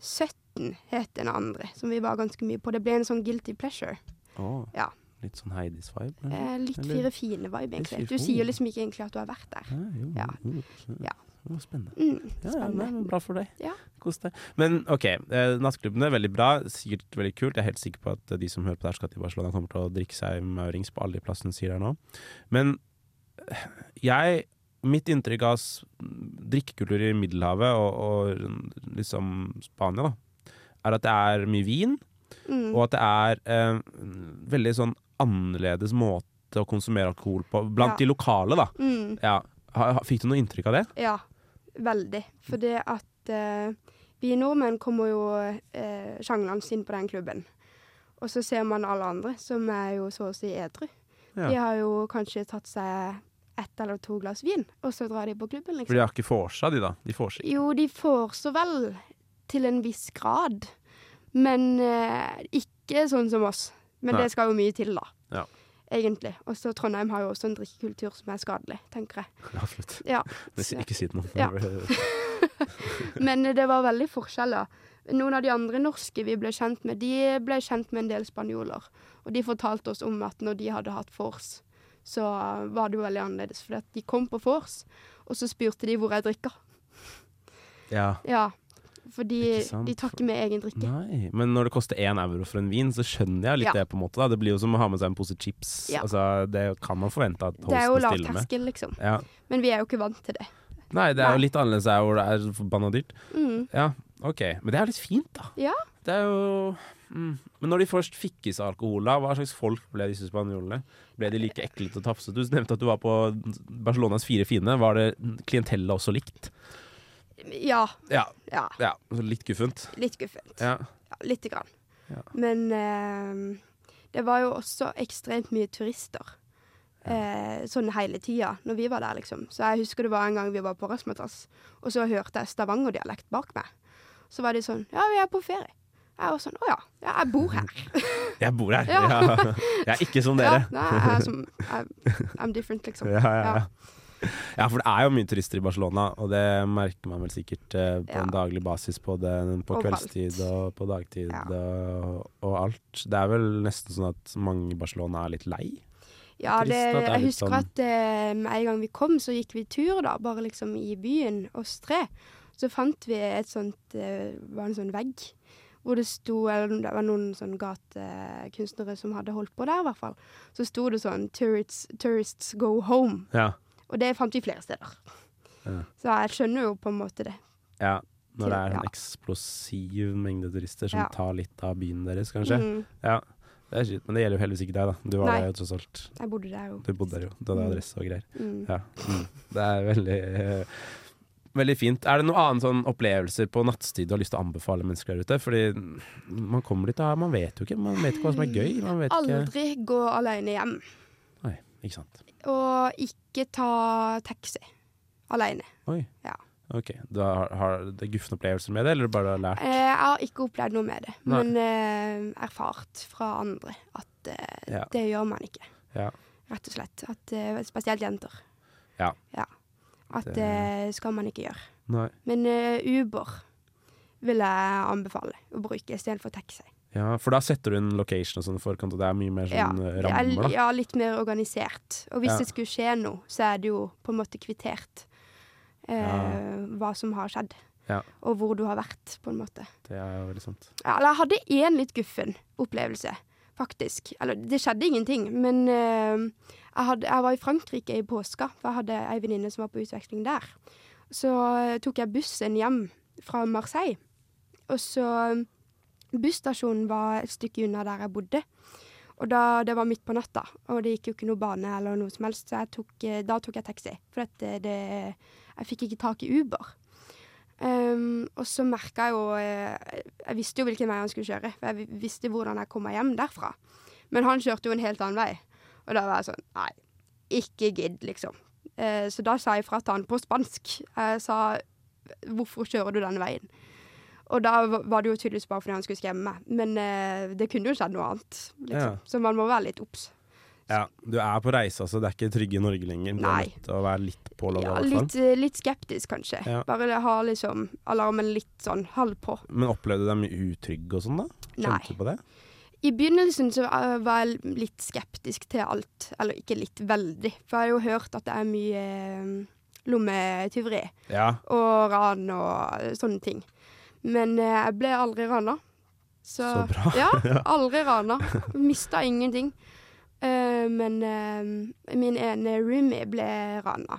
17 het den andre, som vi var ganske mye på. Det ble en sånn guilty pleasure. Å, Ja. Litt sånn Heidis-vibe. eller? Eh, litt Eller- fire fine vibe, Litt fire- egentlig. Du sier jo liksom ikke egentlig at du har vært der. Ja, jo, Ja. jo, jo. Ja. Det var spennende. Mm, Ja, ja, nei, spennende. men bra for deg. Ja. Kos deg. Men OK, eh, nattklubbene, veldig bra. Sikkert veldig kult. Jeg er helt sikker på at eh, de som hører på der, skal til Barcelona, kommer til å drikke seg maurings på alle de plassene hun sier her nå. Men eh, jeg Mitt inntrykk av s- drikkekultur i Middelhavet og, og liksom Spania, da, er at det er mye vin, Mm. og at det er eh, veldig sånn annerledes måte å konsumere alkohol på, blant Ja. de lokale, da. Mm, Ja. Ha- ha- Fikk du noe inntrykk av det? ja, veldig. For det at eh, vi nordmenn kommer jo uh, sjanglende inn på den klubben. Og så ser man alle andre, som er jo så å si edru. Ja. De har jo kanskje tatt seg ett eller to glass vin, og så drar de på klubben, For de liksom. har ikke vorsa, de da. De vorser ikke. Jo, de får så vel til en viss grad, men eh, ikke sånn som oss. Men Nei. det skal jo mye til, da. Ja. Egentlig. Og så Trondheim har jo også en drikkekultur som er skadelig, tenker jeg. Absolutt. Ja. Men si- så- Ikke si det noe. Ja. Men det var veldig forskjeller. Noen av de andre norske vi ble kjent med, de ble kjent med en del spanjoler. Og de fortalte oss om at når de hadde hatt vors, så uh, var det jo veldig annerledes. For de kom på vors, og så spurte de hvor jeg drikka. ja. Ja. Fordi Ikke sant, de tar ikke med egen drikke. Nei, men når det koster én euro for en vin, så skjønner jeg litt Ja. det. på en måte da. Det blir jo som å ha med seg en pose chips. Ja. Altså, det kan man forvente at Det er jo hosten lav stiller med. terskel, liksom. Ja. Men vi er jo ikke vant til det. Nei, det er Nei. jo litt annerledes her hvor det er forbanna dyrt. Mm. Ja, ok. Men det er jo litt fint, da. Ja. Det er jo mm. Men når de først fikk i seg alkohol, da, hva slags folk ble disse spanjolene? Ble de like eklete og tafsete? Du nevnte at du var på Barcelonas fire fine. Var det klientellet også likt? Ja. Ja. ja. ja. så Litt guffent. Litt guffent. Ja. Ja, Lite grann. Ja. Men eh, det var jo også ekstremt mye turister. Eh, sånn hele tida når vi var der, liksom. Så jeg husker det var en gang vi var på Rasmatas, og så hørte jeg stavangerdialekt bak meg. Så var de sånn Ja, vi er på ferie. Jeg var sånn Å ja, ja, jeg bor her. Jeg bor her. Ja. Ja. Jeg Sånn er ikke som Ja, dere. nei, jeg er som I'm, I'm different, liksom. Ja, ja, ja. Ja, for det er jo mye turister i Barcelona, og det merker man vel sikkert eh, på Ja. en daglig basis. På, den, på Overalt. kveldstid og på dagtid Ja. og, og alt. Det er vel nesten sånn at mange i Barcelona er litt lei. Ja, Trist at det, det er jeg litt husker sånn- at eh, med en gang vi kom, så gikk vi tur, da, bare liksom i byen, oss tre. Så fant vi et sånt eh, var en sånn vegg hvor det sto Eller det var noen sånn gatekunstnere som hadde holdt på der, i hvert fall. Så sto det sånn 'Tourists, tourists go home'. Ja. Og det fant vi flere steder. Ja. Så jeg skjønner jo på en måte det. ja. Når det er Ja. en eksplosiv mengde turister som Ja. tar litt av byen deres, kanskje. Mm, Ja, det er shit, Men det gjelder jo heldigvis ikke deg, da. Du var Nei. der jo tross alt. jeg bodde der jo. Du bodde der jo. Du hadde Mm. adresse og greier. Mm. Ja. Det er veldig eh, Veldig fint. Er det noen annen sånn opplevelser på nattstid du har lyst til å anbefale mennesker der ute? Fordi man kommer dit, da, man vet jo ikke. Man vet ikke hva som er gøy. Man vet ikke Aldri gå alene hjem. Nei, ikke sant. Og ikke ta taxi alene. Oi. Ja. Ok. Du har, har det gufne opplevelser med det, eller bare har lært? Eh, Jeg har ikke opplevd noe med det, Nei. men eh, erfart fra andre at eh, Ja. det gjør man ikke, Ja. rett og slett. At, eh, spesielt jenter. Ja. At Det- det skal man ikke gjøre. Nei. Men eh, Uber vil jeg anbefale å bruke istedenfor taxi. Ja, for da setter du inn location og sånn i forkant, og det er mye mer Ja, sånn eh, det er, rammer, da. ja, litt mer organisert. Og hvis Ja. det skulle skje noe, så er det jo på en måte kvittert eh, Ja. hva som har skjedd. Ja. Og hvor du har vært, på en måte. Det er jo veldig sant. Ja, eller jeg hadde én litt guffen opplevelse, faktisk. Eller det skjedde ingenting, men eh, jeg, hadde, jeg var i Frankrike i påska, for jeg hadde ei venninne som var på utveksling der. Så eh, tok jeg bussen hjem fra Marseille, og så eh, Busstasjonen var et stykke unna der jeg bodde. Og da, Det var midt på natta, og det gikk jo ikke noe bane eller noe som helst, så jeg tok, eh, da tok jeg taxi. For dette, det, jeg fikk ikke tak i Uber. Ehm, og så merka jeg jo eh, Jeg visste jo hvilken vei han skulle kjøre, for jeg vi- visste hvordan jeg kom meg hjem derfra. Men han kjørte jo en helt annen vei, og da var jeg sånn Nei, ikke gidd, liksom. Eh, så da sa jeg fra til han på spansk. Jeg sa Hvorfor kjører du denne veien? Og da v- var det jo tydeligvis bare fordi han skulle skremme meg, men eh, det kunne jo skjedd noe annet. Liksom. Ja. Så man må være litt obs. Ja, du er på reise, altså. Det er ikke trygge Norge lenger. Du Nei. er nødt til å være litt pålogga, Ja, i hvert fall. litt, eh, litt skeptisk, kanskje. Ja. Bare ha liksom alarmen litt sånn halv på. Men opplevde du deg mye utrygg og sånn, da? Nei. Kjente du på det? I begynnelsen så eh, var jeg litt skeptisk til alt. Eller ikke litt, veldig. For jeg har jo hørt at det er mye eh, lommetyveri Ja. og ran og eh, sånne ting. Men eh, jeg ble aldri rana. Så, Så bra. Ja, aldri rana. Mista ingenting. Eh, men eh, min ene roomie ble rana,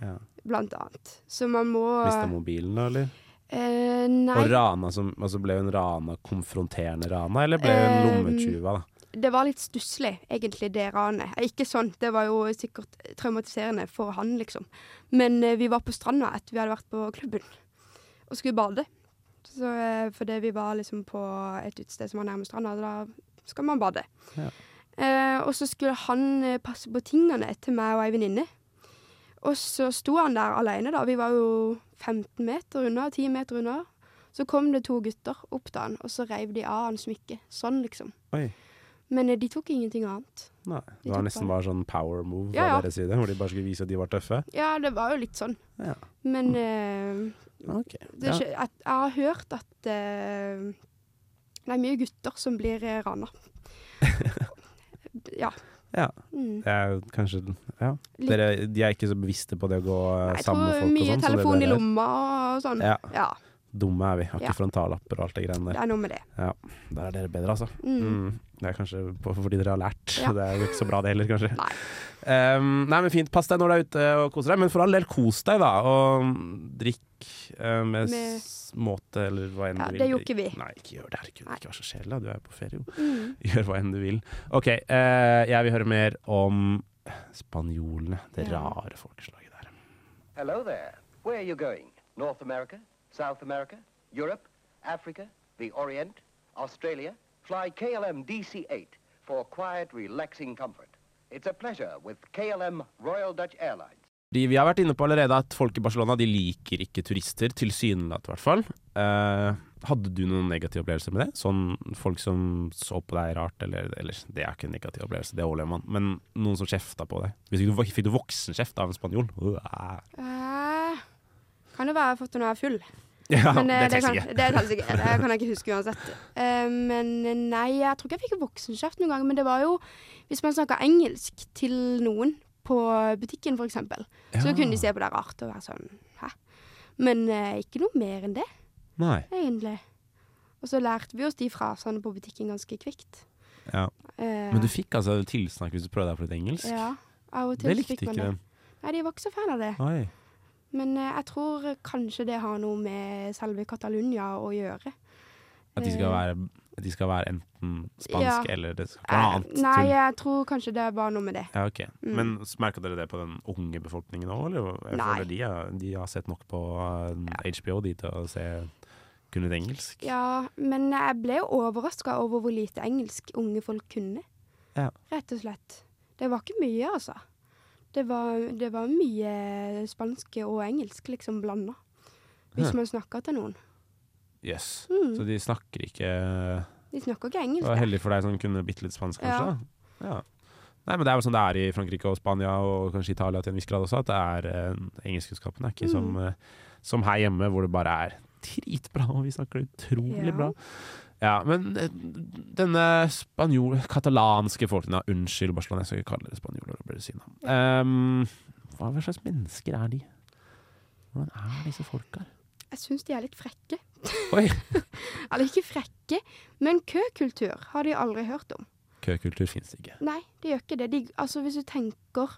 ja. blant annet. Så man må Mista mobilen, da, eller? Eh, Og nei, rana som altså Ble hun rana konfronterende rana, eller ble hun Eh, lommetjuva, da? det var litt stusslig, egentlig, det ranet. Eh, Ikke sånn, det var jo sikkert traumatiserende for han, liksom. Men eh, vi var på stranda etter vi hadde vært på klubben og skulle bade. Så, eh, fordi vi var liksom på et utested som var nærme stranda, og da skal man bade. Ja. Eh, og så skulle han eh, passe på tingene til meg og ei venninne. Og så sto han der alene, da. Vi var jo 15 meter unna, 10 meter unna. Så kom det to gutter opp til han, og så reiv de av han smykket. Sånn, liksom. Oi. Men eh, de tok ingenting annet. Nei. De Det var tok nesten bare sånn power move fra Ja, ja. deres side, hvor de bare skulle vise at de var tøffe. Ja, det var jo litt sånn. Ja. Men eh, Ok. det, skje- at, jeg har hørt at eh, det er mye gutter som blir eh, rana. ja. Ja. Mm. Det er jo kanskje Ja. Litt- Dere, de er ikke så bevisste på det å gå eh, Jeg sammen med tror folk og mye sånn. så det telefon dere- i lomma og sånn. Ja. Ja. Dumme er vi. Har ikke Ja. frontallapper og alt det greiene Det der. er noe med det. Ja, Der er dere bedre, altså. Mm. Mm. Det er kanskje på, fordi dere har lært. Ja. Det er jo ikke så bra det heller, kanskje. Nei. Um, nei, men fint. Pass deg når du er ute og koser deg. Men for all del, kos deg, da. Og drikk eh, med, Med- s- måte, eller hva enn Ja, du vil. det gjorde ikke vi. Nei, ikke gjør det. Herregud, Nei. Mm. ikke vær så kjedelig. da. Du er jo på ferie, jo. Gjør hva enn du vil. OK, eh, jeg vil høre mer om spanjolene. Det Ja. rare folkeslaget der. Hello there. Where are you going? North America? South America? Europe? Africa? The Orient? Australia? Fly KLM DC-8 for quiet, relaxing comfort. It's a pleasure with KLM Royal Dutch Airlines. De, vi har vært inne på allerede at folk i Barcelona de liker ikke turister, tilsynelatende i hvert fall. Eh, hadde du noen negative opplevelser med det? Sånn folk som så på deg rart, eller, eller Det er ikke en negativ opplevelse, det overlever man. Men noen som kjefta på deg? Hvis ikke du fikk du voksenkjeft av en spanjol? ah. Uæ. Eh, kan jo være jeg har fått det når jeg er full. Ja, Men, eh, det det, telles kan, ikke. det telles ikke. Det kan jeg ikke huske uansett. Eh, men eh, nei, jeg tror ikke jeg fikk voksenkjeft noen gang. Men det var jo hvis man snakka engelsk til noen på butikken, f.eks., eksempel så Ja. kunne de se på deg rart og være sånn hæ? Men eh, ikke noe mer enn det, Nei. egentlig. Og så lærte vi oss de frasene på butikken ganske kvikt. Ja. Eh, Men du fikk altså tilsnakk hvis du prøvde deg på litt engelsk? Ja, av og til det så likte fikk ikke man det. dem. Nei, de var ikke så fan av det. Oi. Men eh, jeg tror kanskje det har noe med selve Catalunya å gjøre. At de skal være, at de skal være enten spansk Eh. Ja. eller det skal ikke være noe Eh, annet Nei, tull. jeg tror kanskje det er bare noe med det. Ja, ok. Mm. Men merka dere det på den unge befolkningen òg, eller? Jeg Nei. føler de, er, de har sett nok på eh, HBO de til å se kunne litt engelsk. Ja, men jeg ble jo overraska over hvor lite engelsk unge folk kunne. Ja. Rett og slett. Det var ikke mye, altså. Det var, det var mye spansk og engelsk liksom blanda. Hvis Ja. man snakka til noen. Yes. Mm. Hm. Så de snakker ikke De snakker ikke Det engelsk. var der. heldig for deg som kunne bitte litt spansk, Ja. kanskje? da? Ja. Nei, men Det er vel sånn det er i Frankrike og Spania og kanskje Italia til en viss grad også, at det er eh, engelskkunnskapene er ikke som, Mm. eh, som her hjemme, hvor det bare er dritbra, og vi snakker det utrolig Ja. bra. Ja, men eh, denne spanjol... katalanske folkene ja, Unnskyld, Barcelona, jeg skal ikke kalle dere spanjoler. det burde jeg si nå. Ehm, hva hva slags mennesker er de? Hvordan er disse folka? Jeg syns de er litt frekke. Oi! Eller ikke frekke, men køkultur har de aldri hørt om. Køkultur fins ikke. Nei, de gjør ikke det. De, altså hvis du tenker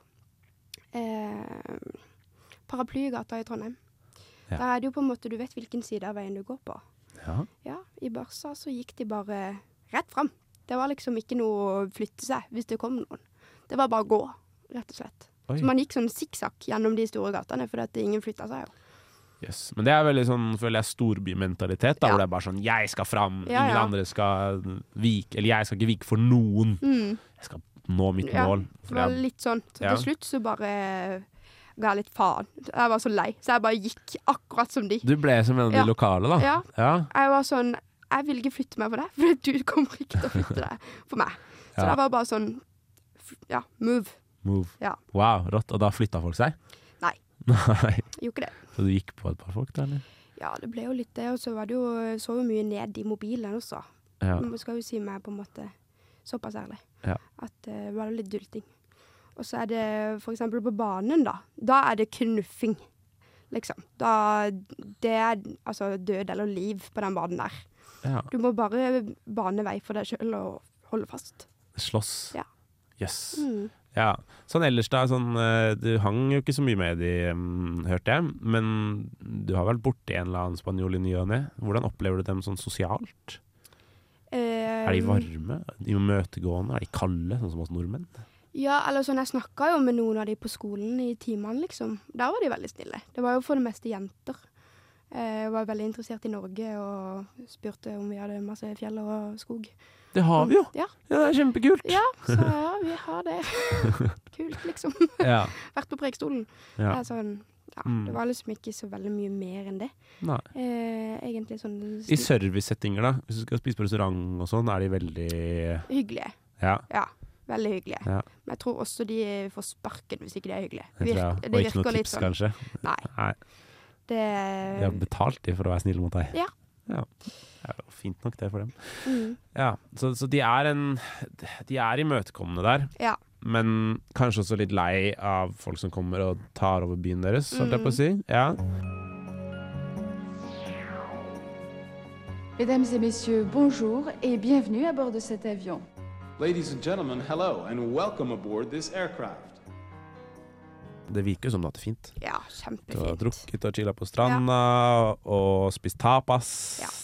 eh, Paraplygata i Trondheim. Ja. Der er det jo på en måte Du vet hvilken side av veien du går på. Ja. Ja, I Barca så gikk de bare rett fram. Det var liksom ikke noe å flytte seg hvis det kom noen. Det var bare å gå, rett og slett. Oi. Så man gikk sånn sikksakk gjennom de store gatene, fordi at ingen flytta seg jo. Yes. Men det er veldig sånn, føler jeg, storbymentalitet, da, Ja. hvor det er bare sånn 'jeg skal fram', Ja, ingen ja. andre skal vike, eller 'jeg skal ikke vike for noen', Mm. jeg skal nå mitt Ja, mål. Det For var jeg, litt sånn. Så Ja. til slutt så bare ga jeg litt faen. Jeg var så lei, så jeg bare gikk akkurat som de. du ble som en av de Ja. lokale, da. Ja. Ja. Jeg var sånn Jeg vil ikke flytte meg for deg, for du kommer ikke til å flytte deg for meg. Så Ja. det var bare sånn f- Ja, move. Move. Ja. Wow, rått. Og da flytta folk seg? Nei. Nei. Gjorde ikke det. Så du gikk på et par folk, da, eller? Ja, det ble jo litt det, og så var det jo så jo mye ned i mobilen også. Ja. Man skal jo si meg på en måte såpass ærlig Ja. at eh, det var jo litt dulting. Og så er det for eksempel på banen, da. Da er det knuffing, liksom. Da Det er altså død eller liv på den banen der. ja. Du må bare bane vei for deg sjøl og holde fast. Slåss. Ja. Yes. Mm. Ja. Sånn ellers, da. Sånn, eh, du hang jo ikke så mye med i, mm, hørte jeg, men du har vært borti en eller annen spanjol i ny og ne. Hvordan opplever du dem sånn sosialt? Er de Ehm, varme? Er De imøtegående? Er de kalde, sånn som oss nordmenn? Ja, eller sånn, jeg snakka jo med noen av de på skolen i timene, liksom. Der var de veldig snille. Det var jo for det meste jenter. Eh, Jeg var veldig interessert i Norge og spurte om vi hadde masse fjell og skog. Det har vi jo! Ja, det er kjempekult! ja så ja, vi har det. Kult, liksom. Ja. Vært på Preikestolen. Ja. Det er Sånn, ja, Mm. det var liksom ikke så veldig mye mer enn det. Nei. Eh, egentlig sånn I servicesettinger, da? Hvis du skal spise på restaurant og sånn, er de veldig hyggelige. Ja. Ja, veldig hyggelige. Ja. Men jeg tror også de får sparken hvis ikke de er hyggelige. Det tror jeg. Virk- Og ikke noe tips, kanskje. sånn. Nei, Nei, det De har betalt de for å være snille mot deg. Ja. ja. Det er jo fint nok, det, for dem. mm. Ja, Så, så de er en De er imøtekommende der. Ja. Men kanskje også litt lei av folk som Mm. kommer og tar over byen deres, holdt jeg på å si. Ja. Mesdames et messieurs, bonjour et bienvenue à bord de cet avion. Ladies and gentlemen, hello and welcome aboard this aircraft. Det virker jo som du har hatt det fint. Ja, Du har kjempefint. drukket og chilla på stranda og spist tapas.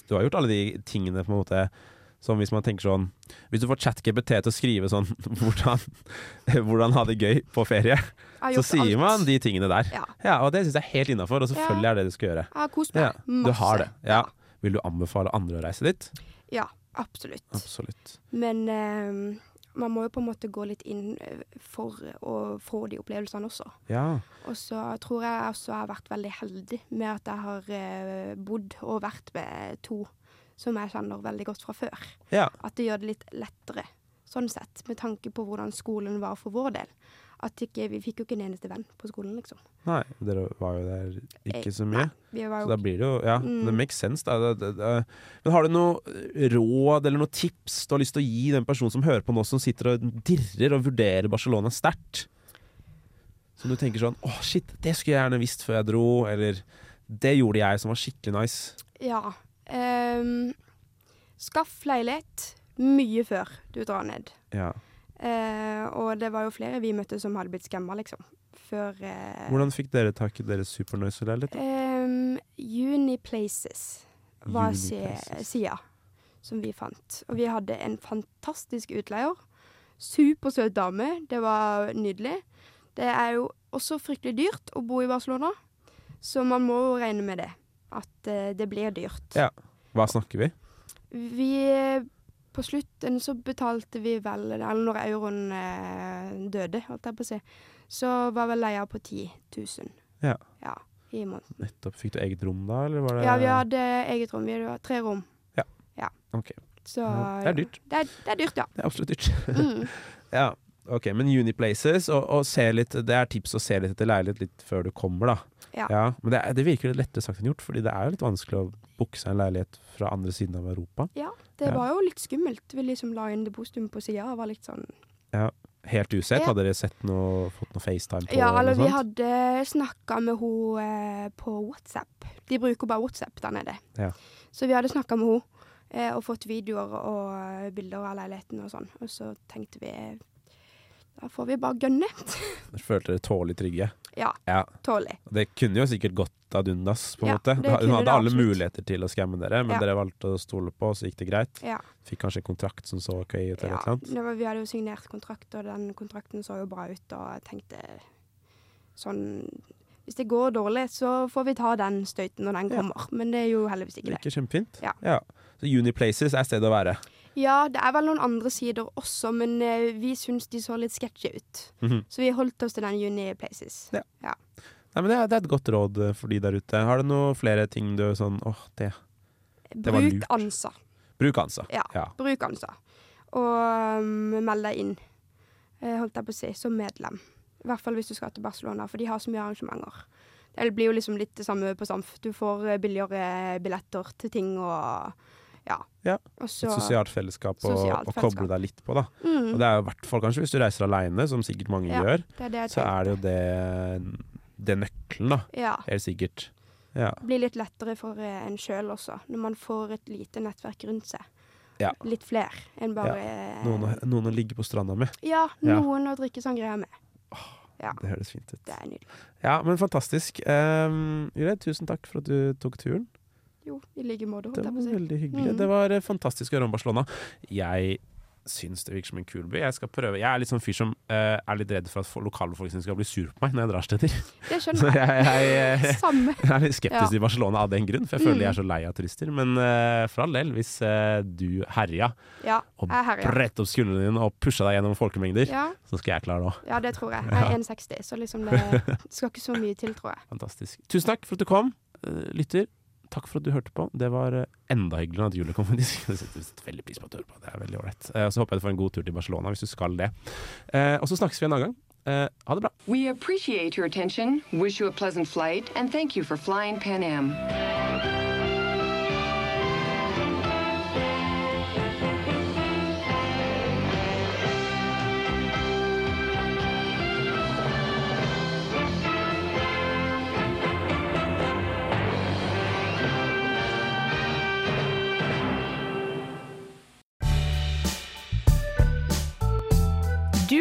Du har gjort alle de tingene på en måte som hvis man tenker sånn Hvis du får ChatGPT til å skrive sånn hvordan, hvordan ha det gøy på ferie, har så gjort sier alt. man de tingene der. Ja. og det syns jeg er helt innafor, og Ja. selvfølgelig er det det du skal gjøre. Jeg har kost meg Du har det. masse. Ja. Vil du anbefale andre å reise dit? Ja, absolutt. Absolutt. Men eh, man må jo på en måte gå litt inn eh, for å få de opplevelsene også. Ja. Og så tror jeg også jeg har vært veldig heldig med at jeg har eh, bodd og vært med to som jeg kjenner veldig godt fra før. Ja. At det gjør det litt lettere, sånn sett, med tanke på hvordan skolen var for vår del. At ikke, vi fikk jo ikke en eneste venn på skolen, liksom. Nei, dere var jo der Eh, ikke så mye. vi var så jo da ikke- blir det jo Ja, Mm. det makes sense. Da. Det, det, det. Men har du noe råd eller noe tips du har lyst til å gi den personen som hører på nå, som sitter og dirrer og vurderer Barcelona sterkt? Som du tenker sånn Å, shit, det skulle jeg gjerne visst før jeg dro. Eller det gjorde jeg som var skikkelig nice. Ja. ehm, skaff leilighet mye før du drar ned. Ja. Eh, og det var jo flere vi møtte som hadde blitt skamma, liksom. Før eh, Hvordan fikk dere tak i deres supernoise-leilighet? ehm, Uni Places var Uni si- Places. sida som vi fant. Og vi hadde en fantastisk utleier. Supersøt dame. Det var nydelig. Det er jo også fryktelig dyrt å bo i Barcelona, så man må jo regne med det. At eh, det blir dyrt. Ja. Hva snakker vi? Vi På slutten så betalte vi vel Eller når euroen eh, døde, holdt jeg på å si, så var vel leia på 10 000 Ja. ja, i måneden. Nettopp. Fikk du eget rom da, eller var det Ja, vi hadde eget rom. Vi hadde tre rom. Ja. Ja. Ok. Så Ja, det er dyrt. Det er, det er dyrt, ja. Det er absolutt dyrt. Mm. ja, ok, men Uniplaces, og, og se litt, det er tips å se litt etter leilighet litt før du kommer, da. Ja. men det, er- det virker litt lettere sagt enn gjort, fordi det er jo litt vanskelig å booke seg en leilighet fra andre siden av Europa. Ja, det Ja. var jo litt skummelt. Vi liksom la inn depositum på sida og var litt sånn Ja. Helt usett, Ja. hadde dere sett noe, fått noe FaceTime på? Ja, eller eller noe vi sånt? hadde snakka med hun eh, på WhatsApp. De bruker bare WhatsApp der nede. Ja. Så vi hadde snakka med henne eh, og fått videoer og eh, bilder av leiligheten og sånn. Og så tenkte vi eh, da får vi bare gønne. Dere Følte dere tålelig trygge? ja, Ja. tålig. Det kunne jo sikkert gått ad undas, på en Ja, måte. det Hun kunne hadde det alle absolutt. muligheter til å skamme dere, men Ja. dere valgte å stole på, så gikk det greit. Ja. Fikk kanskje en kontrakt som så ok ut, eller Ja, et eller annet. det var, vi hadde jo signert kontrakt, og den kontrakten så jo bra ut, og jeg tenkte sånn Hvis det går dårlig, så får vi ta den støyten når den kommer. Men det er jo heldigvis ikke det. Virker kjempefint. Ja. Så Uniplaces er stedet å være. Ja, det er vel noen andre sider også, men eh, vi syns de så litt sketchy ut. Mhm. Så vi holdt oss til den Uni Places. Ja. Ja. Nei, men det er, det er et godt råd eh, for de der ute. Har du noen flere ting du er sånn åh, det, det var Bruk lurt. ANSA. Bruk ANSA. Ja, bruk ANSA. Og um, meld deg inn, eh, holdt jeg på å si, som medlem. I hvert fall hvis du skal til Barcelona, for de har så mye arrangementer. Det blir jo liksom litt det samme på Samf. Du får eh, billigere billetter til ting og ja. Ja. Og så, et sosialt fellesskap og, Sosialt og fellesskap. koble deg litt på, da. Mm. Og det er jo i hvert fall kanskje hvis du reiser aleine, som sikkert mange Ja, gjør, det er det jeg så er det jo det, det nøkkelen, da. Ja. Helt sikkert. Ja. blir litt lettere for eh, en sjøl også, når man får et lite nettverk rundt seg. ja. Litt flere enn bare eh, ja. Noen, å, noen å ligge på stranda med. Ja, Ja. noen å drikke sånn greier med. Ja, Det høres fint ut. det er nydelig. Ja, men fantastisk. Um, Julie, tusen takk for at du tok turen. Jo, i like måte, holdt Det jeg på var å si. veldig hyggelig. Mm. Det var eh, fantastisk å høre om Barcelona. Jeg syns det virker som en kul by. Jeg skal prøve. Jeg er litt sånn fyr som eh, er litt redd for at fo- lokalbefolkningen skal bli sur på meg når jeg drar steder. Det Så skjønner jeg, jeg. jeg, jeg, Samme. jeg er litt skeptisk Ja. til Barcelona av den grunn, for jeg føler Mm. jeg er så lei av turister. Men eh, for all del, hvis eh, du herja Ja, og jeg herjer. brett opp skuldrene dine og pusha deg gjennom folkemengder, Ja. så skal jeg klare det òg. Ja, det tror jeg. Jeg er 1,60, så liksom det skal ikke så mye til, tror jeg. Fantastisk. Tusen takk for at du kom, eh, lytter. Takk for at du hørte på. Det var eh, enda hyggeligere enn at Julie kom. faktisk. Jeg setter setter veldig pris på at du hører på. Det er veldig ålreit. Eh, Og så håper jeg du får en god tur til Barcelona hvis du skal det. Eh, Og så snakkes vi en annen gang. Eh, Ha det bra. We appreciate your attention, wish you a pleasant flight, and thank you for flying Pan Am. Du